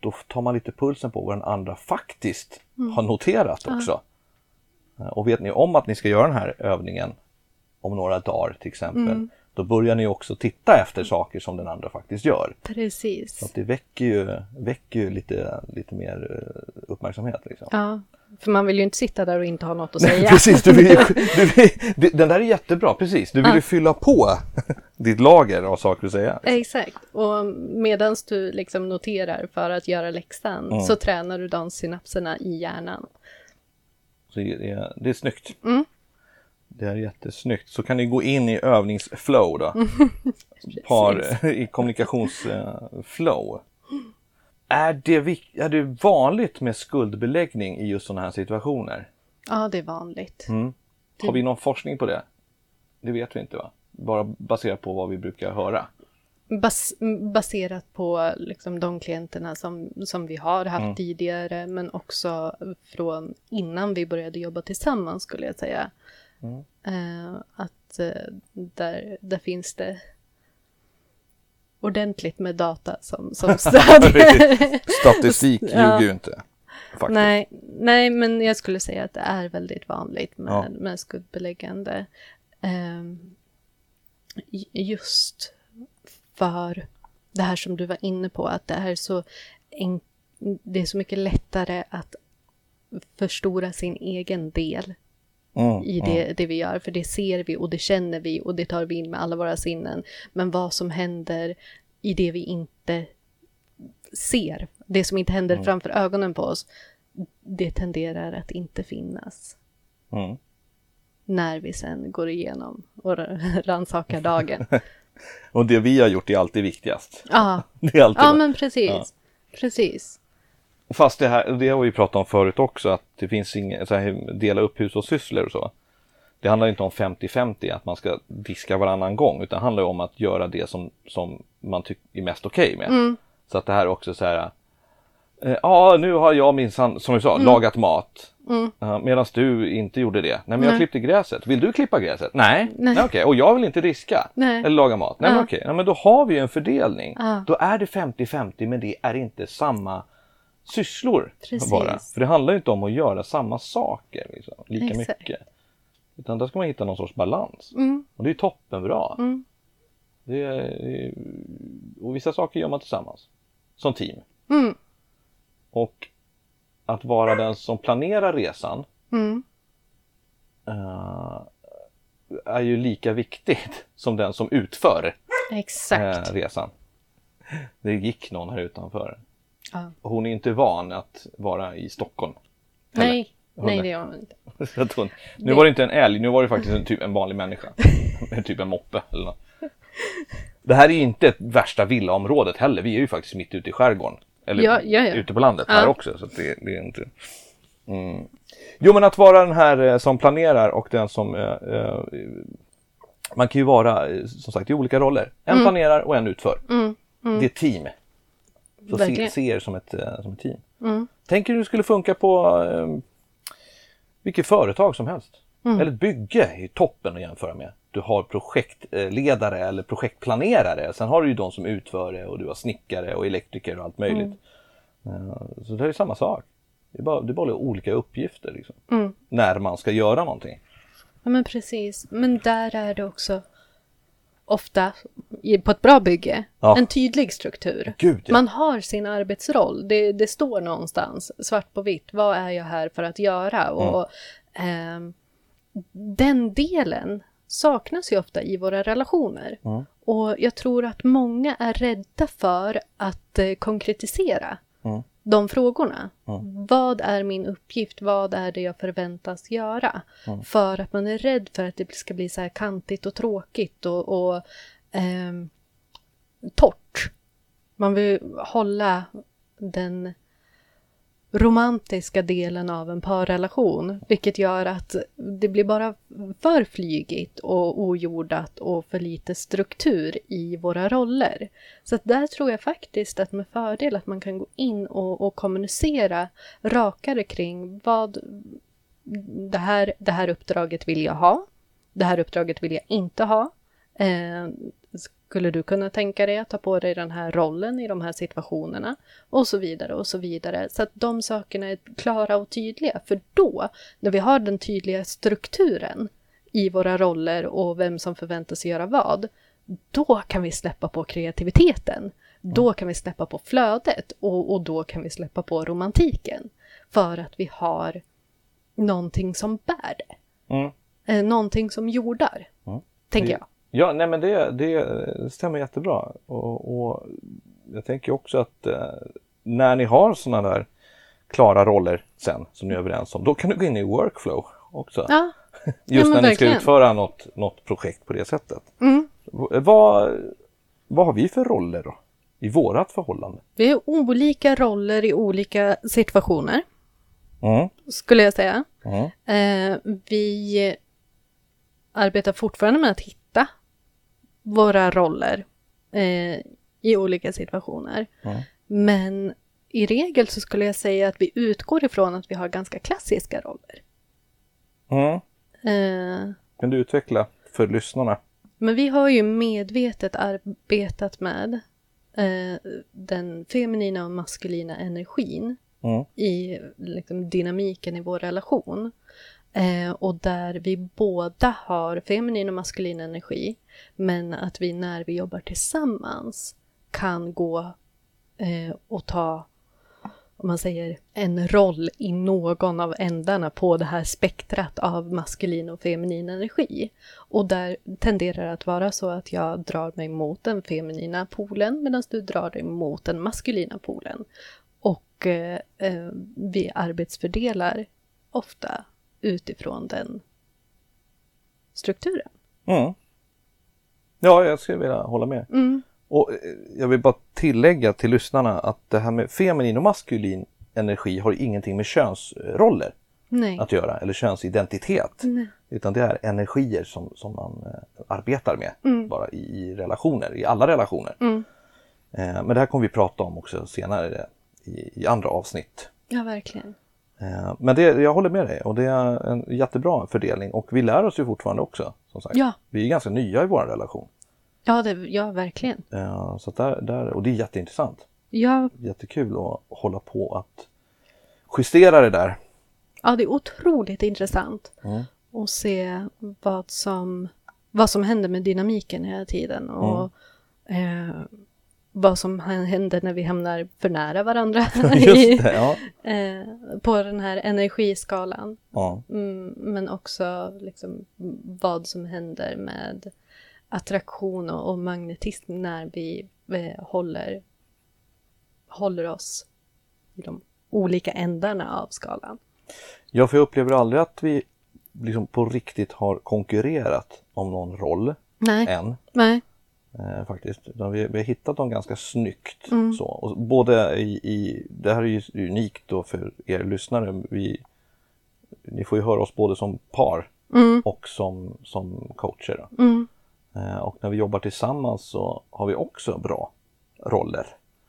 S1: då tar man lite pulsen på vad den andra faktiskt har noterat också. Eh, Och vet ni om att ni ska göra den här övningen om några dagar till exempel. Då börjar ni också titta efter saker som den andra faktiskt gör. Så
S2: Precis.
S1: att det väcker ju, väcker ju lite, lite mer eh, uppmärksamhet. Liksom.
S2: Ja. För man vill ju inte sitta där och inte ha något att säga.
S1: Precis, du vill, ju- du vill, det- den där är jättebra, precis. Du vill ju fylla på [LAUGHS] ditt lager av saker att säga.
S2: [LAUGHS] Exakt. Och medan du liksom noterar för att göra läxan så tränar du de synapserna i hjärnan.
S1: Så det, är, det är snyggt. Det är jättesnyggt. Så kan ni gå in i övningsflow då. Par, [LAUGHS] I kommunikationsflow. Är det, vik- är det vanligt med skuldbeläggning i just sådana här situationer?
S2: Ja, det är vanligt.
S1: Har vi någon forskning på det? Det vet vi inte va? Bara baserat på vad vi brukar höra.
S2: Bas baserat på liksom de klienterna som, som vi har haft tidigare, men också från innan vi började jobba tillsammans skulle jag säga. Eh, att eh, där, där finns det ordentligt med data som, som stödjer.
S1: Statistik ljuger ju inte. faktiskt.
S2: Nej, nej, men jag skulle säga att det är väldigt vanligt med,
S1: Ja.
S2: med skuldbeläggande. Ehm, j- just för det här som du var inne på, att det är så, enk- det är så mycket lättare att förstora sin egen del
S1: Mm,
S2: i det, det vi gör, för det ser vi och det känner vi och det tar vi in med alla våra sinnen. Men vad som händer i det vi inte ser, det som inte händer framför ögonen på oss, det tenderar att inte finnas
S1: Mm.
S2: när vi sen går igenom och [LAUGHS] rannsakar dagen.
S1: Och det vi har gjort är alltid viktigast.
S2: Ja,
S1: Det är alltid
S2: ja
S1: det.
S2: men precis. Precis.
S1: Fast det här, det har vi pratat om förut också, att det finns inget, så här, dela upp hushållssysslor och så. Det handlar inte om 50-50, att man ska diska varannan gång, utan det handlar ju om att göra det som, som man tycker är mest okej med. Så att det här är också så här, eh, ja nu har jag minsann, som vi sa, lagat mat. Eh, Medan du inte gjorde det. Nej men jag klippte gräset. Vill du klippa gräset? Nej, nej okej. Och jag vill inte diska.
S2: Nej.
S1: Eller laga mat. Nej men okej, Nej, men då har vi ju en fördelning.
S2: Ja.
S1: Då är det 50-50 men det är inte samma sysslor
S2: Precis.
S1: bara. För det handlar ju inte om att göra samma saker liksom, lika
S2: Exakt.
S1: mycket. Utan där ska man hitta någon sorts balans.
S2: Mm.
S1: Och det är toppenbra. Det är, och vissa saker gör man tillsammans. Som team.
S2: Mm.
S1: Och att vara den som planerar resan
S2: Mm.
S1: eh, är ju lika viktigt [LAUGHS] som den som utför eh,
S2: Exakt.
S1: resan. Det gick någon här utanför.
S2: Ja.
S1: Och hon är inte van att vara i Stockholm. [LAUGHS]
S2: Nej,
S1: Håller.
S2: nej det gör man inte.
S1: Så att hon, nu
S2: Det-
S1: var det inte en älg, nu var det faktiskt en, typ, en vanlig
S2: [LAUGHS]
S1: människa. En typ en moppe eller något. Det här är ju inte ett värsta villaområdet heller. Vi är ju faktiskt mitt ute i skärgården. Eller
S2: Ja, ja, ja.
S1: ute på landet här
S2: Ja.
S1: också. Så att det, det är inte... Mm. Jo, men att vara den här eh, som planerar och den som... Eh, eh, man kan ju vara, eh, som sagt, i olika roller. En planerar och en utför. Det är team. Så se,
S2: Verkligen.
S1: se er som ett, eh, som ett team. Tänk er hur det skulle funka på eh, vilket företag som helst. Eller ett bygge är ju toppen att jämföra med. Du har projektledare eller projektplanerare. Sen har du ju de som utför det och du har snickare och elektriker och allt möjligt. Eh, Så det här är samma sak. Det är bara, det är bara olika uppgifter liksom. när man ska göra någonting.
S2: Ja, men precis. Men där är det också ofta, i- på ett bra bygge,
S1: Ja.
S2: en tydlig struktur.
S1: Gud, ja.
S2: Man har sin arbetsroll. Det, det står någonstans, svart på vitt, vad är jag här för att göra?
S1: Mm.
S2: Och, ehm, den delen saknas ju ofta i våra relationer.
S1: Mm.
S2: Och jag tror att många är rädda för att eh, konkretisera de frågorna. Vad är min uppgift? Vad är det jag förväntas göra? För att man är rädd för att det ska bli så här kantigt och tråkigt och, och ehm, torrt. Man vill hålla den romantiska delen av en parrelation, vilket gör att det blir bara för flygigt och ojordat och för lite struktur i våra roller. Så att där tror jag faktiskt att med fördel att man kan gå in och, och kommunicera rakare kring vad det här, det här uppdraget vill jag ha, det här uppdraget vill jag inte ha. Eh, skulle du kunna tänka dig att ta på dig den här rollen i de här situationerna? Och så vidare och så vidare. Så att de sakerna är klara och tydliga. För då, när vi har den tydliga strukturen i våra roller och vem som förväntas göra vad, då kan vi släppa på kreativiteten. Då kan vi släppa på flödet och, och då kan vi släppa på romantiken. För att vi har någonting som bär det.
S1: Mm.
S2: Eh, någonting som jordar, tänker jag.
S1: Ja, nej men det, det stämmer jättebra. Och, och jag tänker också att eh, när ni har sådana där klara roller sen som ni är överens om, då kan du gå in i workflow också.
S2: Ja, ja,
S1: Just
S2: men
S1: när ni
S2: verkligen.
S1: ska utföra något, något projekt på det sättet.
S2: Mm.
S1: V- Vad, vad har vi för roller då? I vårat förhållande?
S2: vi har olika roller i olika situationer,
S1: Mm.
S2: skulle jag säga.
S1: Mm.
S2: Eh, vi arbetar fortfarande med att hitta våra roller eh, i olika situationer. Men i regel så skulle jag säga att vi utgår ifrån att vi har ganska klassiska roller.
S1: Mm.
S2: Eh,
S1: Kan du utveckla för lyssnarna?
S2: Men vi har ju medvetet arbetat med eh, den feminina och maskulina energin
S1: Mm.
S2: i liksom, dynamiken i vår relation. Eh, och där vi båda har feminin och maskulin energi, men att vi när vi jobbar tillsammans kan gå eh, och ta, om man säger, en roll i någon av ändarna på det här spektrat av maskulin och feminin energi. Och där tenderar det att vara så att jag drar mig mot den feminina polen medan du drar dig mot den maskulina polen. Och eh, eh, vi arbetsfördelar ofta utifrån den strukturen.
S1: Mm. Ja, jag skulle vilja hålla med.
S2: Mm.
S1: Och eh, jag vill bara tillägga till lyssnarna att det här med feminin och maskulin energi har ingenting med könsroller
S2: Nej.
S1: att göra eller könsidentitet.
S2: Nej.
S1: Utan det är energier som, som man eh, arbetar med
S2: Mm.
S1: bara i, i relationer, i alla relationer.
S2: Mm.
S1: Eh, men det här kommer vi prata om också senare i, i andra avsnitt.
S2: Ja, verkligen.
S1: Eh, men det, jag håller med dig och det är en jättebra fördelning och vi lär oss ju fortfarande också. Som sagt.
S2: Ja.
S1: Vi är ganska nya i vår relation.
S2: Ja, det, ja verkligen.
S1: Eh, så att där, där, och det är jätteintressant.
S2: Ja,
S1: Jättekul att hålla på att justera det där.
S2: ja, det är otroligt intressant att se vad som, vad som händer med dynamiken hela tiden och eh, vad som händer när vi hamnar för nära varandra
S1: [LAUGHS]
S2: i,
S1: Just det, ja.
S2: [LAUGHS] eh, på den här energiskalan.
S1: ja.
S2: Mm, men också liksom vad som händer med attraktion och, och magnetism när vi eh, håller, håller oss i de olika ändarna av skalan.
S1: Ja, för jag upplever aldrig att vi liksom på riktigt har konkurrerat om någon roll
S2: Nej,
S1: än.
S2: nej,
S1: Eh, faktiskt. Utan vi, vi har hittat dem ganska snyggt.
S2: Mm.
S1: Så. Och både i, i, det här är ju unikt då för er lyssnare. Vi, ni får ju höra oss både som par
S2: Mm.
S1: och som, som coacher. Då.
S2: Mm.
S1: Eh, och när vi jobbar tillsammans så har vi också bra roller.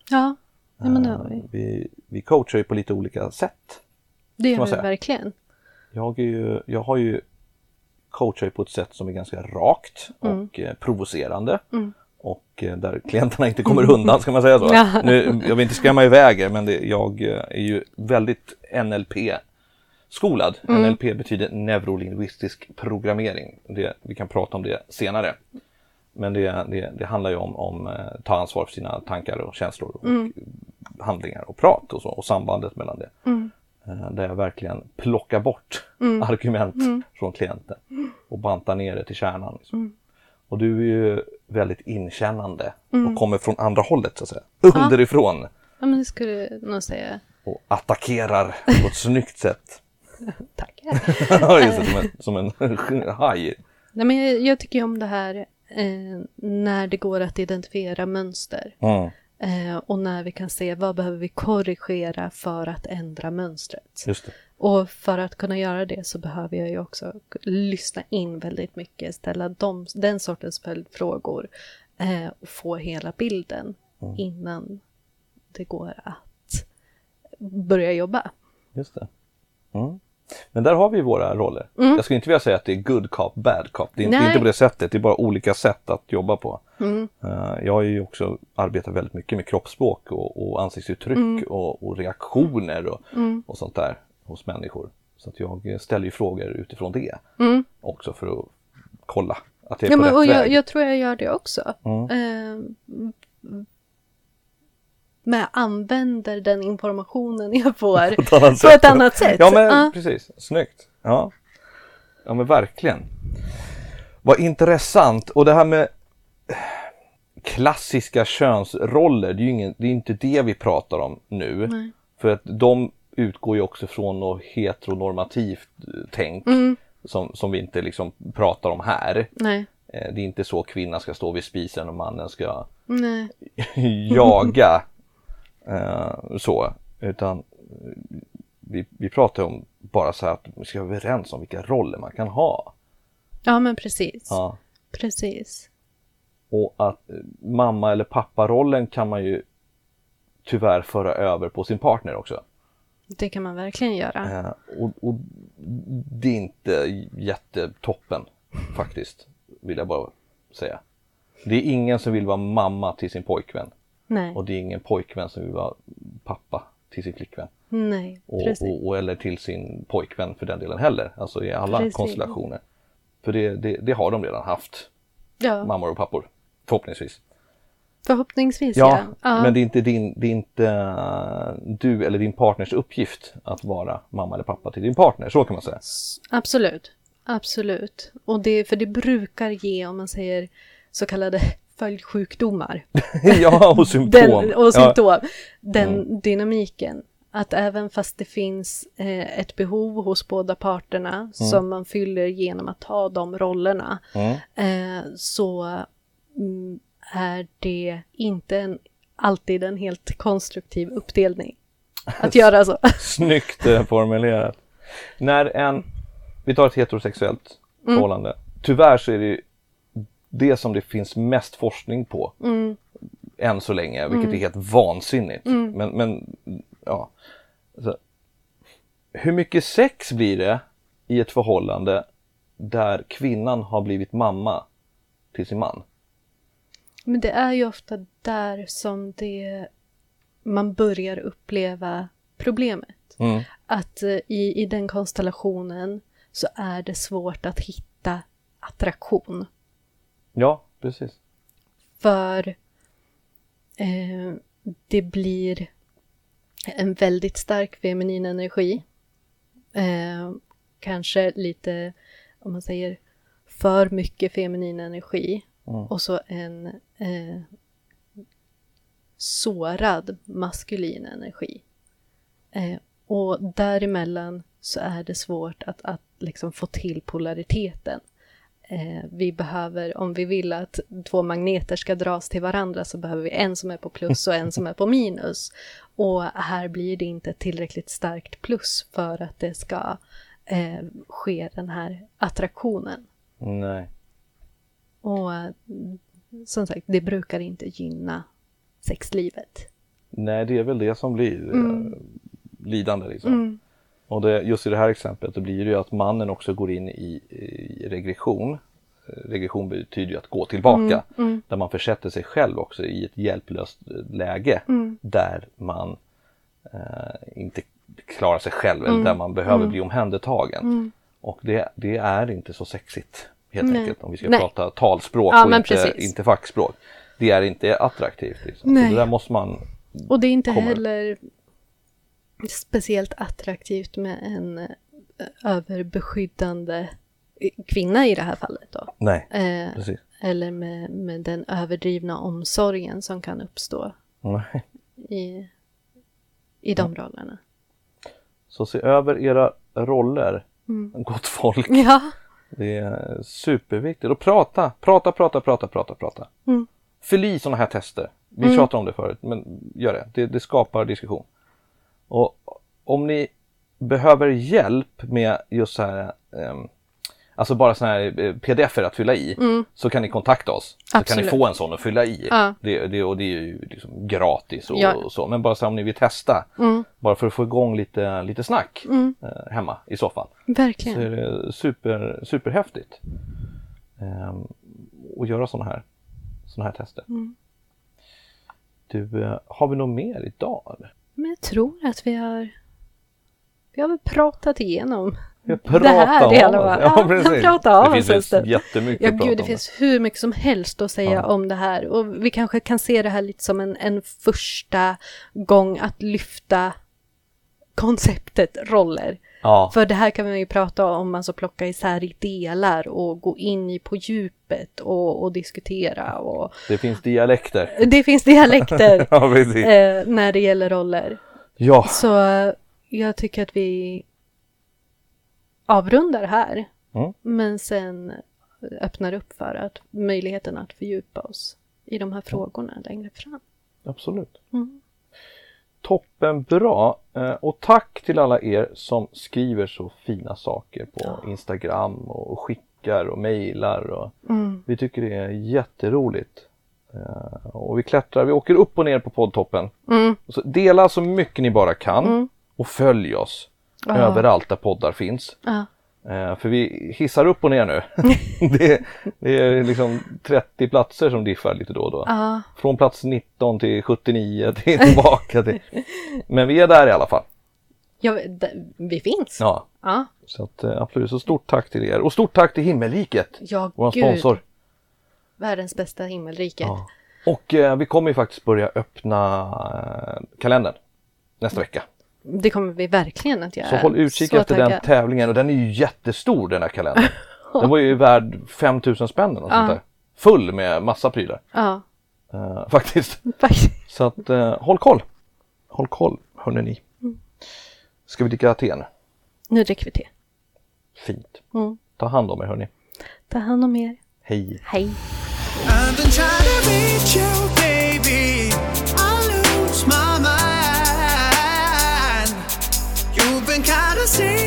S2: ja, nej men det
S1: Eh,
S2: har vi.
S1: Vi, vi coachar ju på lite olika sätt.
S2: Det
S1: man
S2: gör vi
S1: säga.
S2: verkligen.
S1: Jag, är ju, jag har ju coachar ju på ett sätt som är ganska rakt och eh, provocerande. Och eh, där klienterna inte kommer undan, ska man säga så.
S2: Ja.
S1: Nu, jag vill inte skrämma iväg er, men det, jag eh, är ju väldigt NLP-skolad. NLP betyder neurolingvistisk programmering. Det, vi kan prata om det senare. Men det, det, det handlar ju om, om eh, ta ansvar för sina tankar och känslor och handlingar och prat och så och sambandet mellan det. Eh, Där jag verkligen plockar bort argument från klienten och bantar ner det till kärnan. Liksom. Och du är ju väldigt inkännande och kommer från andra hållet så att säga. Underifrån
S2: Ja, men det skulle jag nog säga.
S1: och attackerar på ett snyggt sätt. [LAUGHS]
S2: Tack.
S1: Just det, som en, som en [LAUGHS] haj.
S2: nej, men jag, jag tycker ju om det här eh, när det går att identifiera mönster.
S1: Mm,
S2: Eh, och när vi kan se vad behöver vi korrigera för att ändra mönstret.
S1: just det.
S2: Och för att kunna göra det så behöver jag ju också k- lyssna in väldigt mycket, ställa de, den sortens följdfrågor eh, och få hela bilden
S1: Mm.
S2: innan det går att börja jobba.
S1: Just det. Mm. Men där har vi våra roller. Jag skulle inte vilja säga att det är good cop, bad cop. Det är inte,
S2: Mm. Nej. Mm.
S1: inte på det sättet, det är bara olika sätt att jobba på. Eh, jag har ju också arbetat väldigt mycket med kroppsspråk och, och ansiktsuttryck
S2: Mm.
S1: och, och reaktioner och, och sånt där hos människor. Så att jag ställer ju frågor utifrån det också för att kolla att jag är
S2: Mm. Ja,
S1: på
S2: men,
S1: rätt
S2: och jag,
S1: väg.
S2: jag tror jag gör det också. Eh, men jag använder den informationen jag
S1: [LAUGHS]
S2: får
S1: På ett annat
S2: på ett
S1: sätt.
S2: annat sätt.
S1: Ja men
S2: Ja.
S1: precis, snyggt. Ja. ja men verkligen. Vad intressant och det här med klassiska könsroller, det är ju ingen, det är inte det vi pratar om nu. För att de utgår ju också från något heteronormativt eh, tänk
S2: Mm.
S1: som, som vi inte liksom pratar om här.
S2: Nej,
S1: Eh, Det är inte så kvinnan ska stå vid spisen och mannen ska
S2: nej.
S1: [LAUGHS] jaga eh, så. Utan eh, vi, vi pratar om bara så här att vi ska vara överens om vilka roller man kan ha.
S2: Ja, men precis.
S1: Ja.
S2: Precis.
S1: Och att eh, mamma eller papparollen kan man ju tyvärr föra över på sin partner också.
S2: Det kan man verkligen göra.
S1: Eh, och, och det är inte jättetoppen faktiskt, vill jag bara säga. Det är ingen som vill vara mamma till sin pojkvän
S2: Nej.
S1: och det är ingen pojkvän som vill vara pappa till sin flickvän.
S2: Nej,
S1: Och,
S2: precis.
S1: och, och, eller till sin pojkvän för den delen heller. Alltså i alla
S2: Precis.
S1: konstellationer. För det, det, det har de redan haft,
S2: ja,
S1: mammor och pappor. Förhoppningsvis.
S2: förhoppningsvis
S1: Ja,
S2: ja. ja.
S1: men det är inte, din, det är inte eh, du eller din partners uppgift att vara mamma eller pappa till din partner, så kan man säga. [LAUGHS]
S2: Absolut. Absolut. Och det, för det brukar ge, om man säger så kallade [LAUGHS] följdsjukdomar.
S1: ja, och symptom.
S2: Den, och
S1: Ja.
S2: symptom. Den dynamiken. Att även fast det finns eh, ett behov hos båda parterna som man fyller genom att ta de rollerna
S1: Mm.
S2: eh, så mm, är det inte en, alltid en helt konstruktiv uppdelning.
S1: [LAUGHS]
S2: Att göra så.
S1: Snyggt eh, formulerat. När en, vi tar ett heterosexuellt förhållande. Tyvärr så är det ju det som det finns mest forskning på. Än så länge, vilket är helt vansinnigt. Men, men ja. Alltså, hur mycket sex blir det i ett förhållande där kvinnan har blivit mamma till sin man?
S2: Men det är ju ofta där som det, man börjar uppleva problemet.
S1: Mm.
S2: Att eh, i, i den konstellationen så är det svårt att hitta attraktion.
S1: Ja, precis.
S2: För eh, det blir en väldigt stark feminin energi. Eh, kanske lite, om man säger, för mycket feminin energi. Och så en eh, sårad maskulin energi. Eh, och däremellan så är det svårt att, att liksom få till polariteten. Eh, vi behöver, om vi vill att två magneter ska dras till varandra så behöver vi en som är på plus och en som är på minus. Och här blir det inte ett tillräckligt starkt plus för att det ska eh, ske den här attraktionen.
S1: Nej.
S2: Och eh, som sagt, det brukar inte gynna sexlivet.
S1: Nej, det är väl det som blir eh,
S2: Mm.
S1: lidande. Liksom. Och det, just i det här exemplet då blir det ju att mannen också går in i, i regression. Eh, Regression betyder ju att gå tillbaka.
S2: Mm,
S1: Där man försätter sig själv också i ett hjälplöst eh, läge.
S2: Mm.
S1: Där man eh, inte klarar sig själv
S2: Mm.
S1: eller där man behöver bli omhändertagen. Och det, det är inte så sexigt helt
S2: Nej.
S1: enkelt om vi ska
S2: Nej.
S1: prata talspråk
S2: Ja,
S1: och
S2: men
S1: inte,
S2: precis.
S1: inte fackspråk. Det är inte attraktivt. Liksom. Så
S2: Nej.
S1: det där måste man
S2: Och det är inte
S1: kommer.
S2: heller speciellt attraktivt med en eh, överbeskyddande kvinna i det här fallet då.
S1: Nej,
S2: Eh,
S1: precis.
S2: eller med, med den överdrivna omsorgen som kan uppstå
S1: Nej.
S2: i, i de rollerna.
S1: Så se över era roller,
S2: Mm.
S1: gott folk.
S2: Ja,
S1: Det är superviktigt. Och prata, prata, prata, prata, prata, prata.
S2: Mm.
S1: Fyll i sådana här tester. Vi pratade om det förut, men gör det. det. Det skapar diskussion. Och om ni behöver hjälp med just så här, ehm, alltså bara sådana här eh, pdf att fylla i, så kan ni kontakta oss. Så
S2: Mm. Absolut.
S1: kan ni få en sån att fylla i.
S2: Ja.
S1: Det, det, och det är ju liksom gratis och,
S2: Ja.
S1: och så. Men bara så här, om ni vill testa,
S2: mm,
S1: bara för att få igång lite, lite snack eh, hemma i soffan så är
S2: verkligen.
S1: det super, superhäftigt ehm, att göra sådana här, såna här tester.
S2: Mm.
S1: Du, eh, har vi något mer idag? eller?
S2: Men jag tror att vi har, vi har väl pratat igenom.
S1: Vi har
S2: Det här
S1: pratat om
S2: i alla
S1: oss.
S2: fall. Ja, vi har pratat om
S1: Det
S2: oss
S1: finns
S2: istället.
S1: väl jättemycket
S2: Ja,
S1: att prata
S2: gud, det
S1: om.
S2: finns hur mycket som helst att säga
S1: Ja.
S2: om det här. Och vi kanske kan se det här lite som en, en första gång att lyfta konceptet roller.
S1: Ja,
S2: För det här kan man ju prata om, alltså plocka isär i delar och gå in i på djupet och, och diskutera. Och...
S1: det finns dialekter.
S2: Det
S1: [LAUGHS]
S2: finns dialekter
S1: Ja, precis.
S2: eh, när det gäller roller.
S1: Ja,
S2: Så eh, jag tycker att vi avrundar här.
S1: Mm.
S2: Men sen öppnar upp för att möjligheten att fördjupa oss i de här frågorna längre fram.
S1: absolut.
S2: Mm.
S1: Toppen bra. Eh, Och tack till alla er som skriver så fina saker på Instagram och skickar och mejlar. Och...
S2: Mm.
S1: Vi tycker det är jätteroligt. Eh, Och vi klättrar, vi åker upp och ner på poddtoppen.
S2: Mm.
S1: Så dela så mycket ni bara kan och följ oss
S2: Ja.
S1: överallt där poddar finns.
S2: Ja.
S1: Eh, för vi hissar upp och ner
S2: [LAUGHS]
S1: nu. det, det är liksom 30 platser som diffar lite då och då.
S2: Ja,
S1: Från plats 19 till [LAUGHS] 79 till tillbaka till... Men vi är där i alla fall.
S2: ja d- vi finns.
S1: Ja,
S2: Ja,
S1: så att, eh, absolut. Så stort tack till er och stort tack till Himmelriket,
S2: ja
S1: vår
S2: gud.
S1: sponsor.
S2: Världens bästa himmelrike.
S1: Ja. Och eh, vi kommer ju faktiskt börja öppna eh, kalendern nästa vecka.
S2: Det kommer vi verkligen att göra.
S1: Så håll utkik
S2: Eh, Så
S1: efter den
S2: taggad.
S1: tävlingen och den är ju jättestor den här
S2: [LAUGHS]
S1: kalendern. Den var ju värd 5000 spänn eller något
S2: Ja.
S1: sånt där. Full med massa prylar
S2: Ja,
S1: eh, [LAUGHS] faktiskt.
S2: faktiskt.
S1: Så att eh, håll koll! Håll koll hörni ni.
S2: Mm.
S1: Ska vi dricka te nu?
S2: Nu dricker vi te.
S1: Fint.
S2: Mm.
S1: Ta hand om er hörni.
S2: Ta hand om er.
S1: Hej!
S2: Hej.
S3: I've been trying to reach you, baby. I lose my mind. You've been kind of see oh,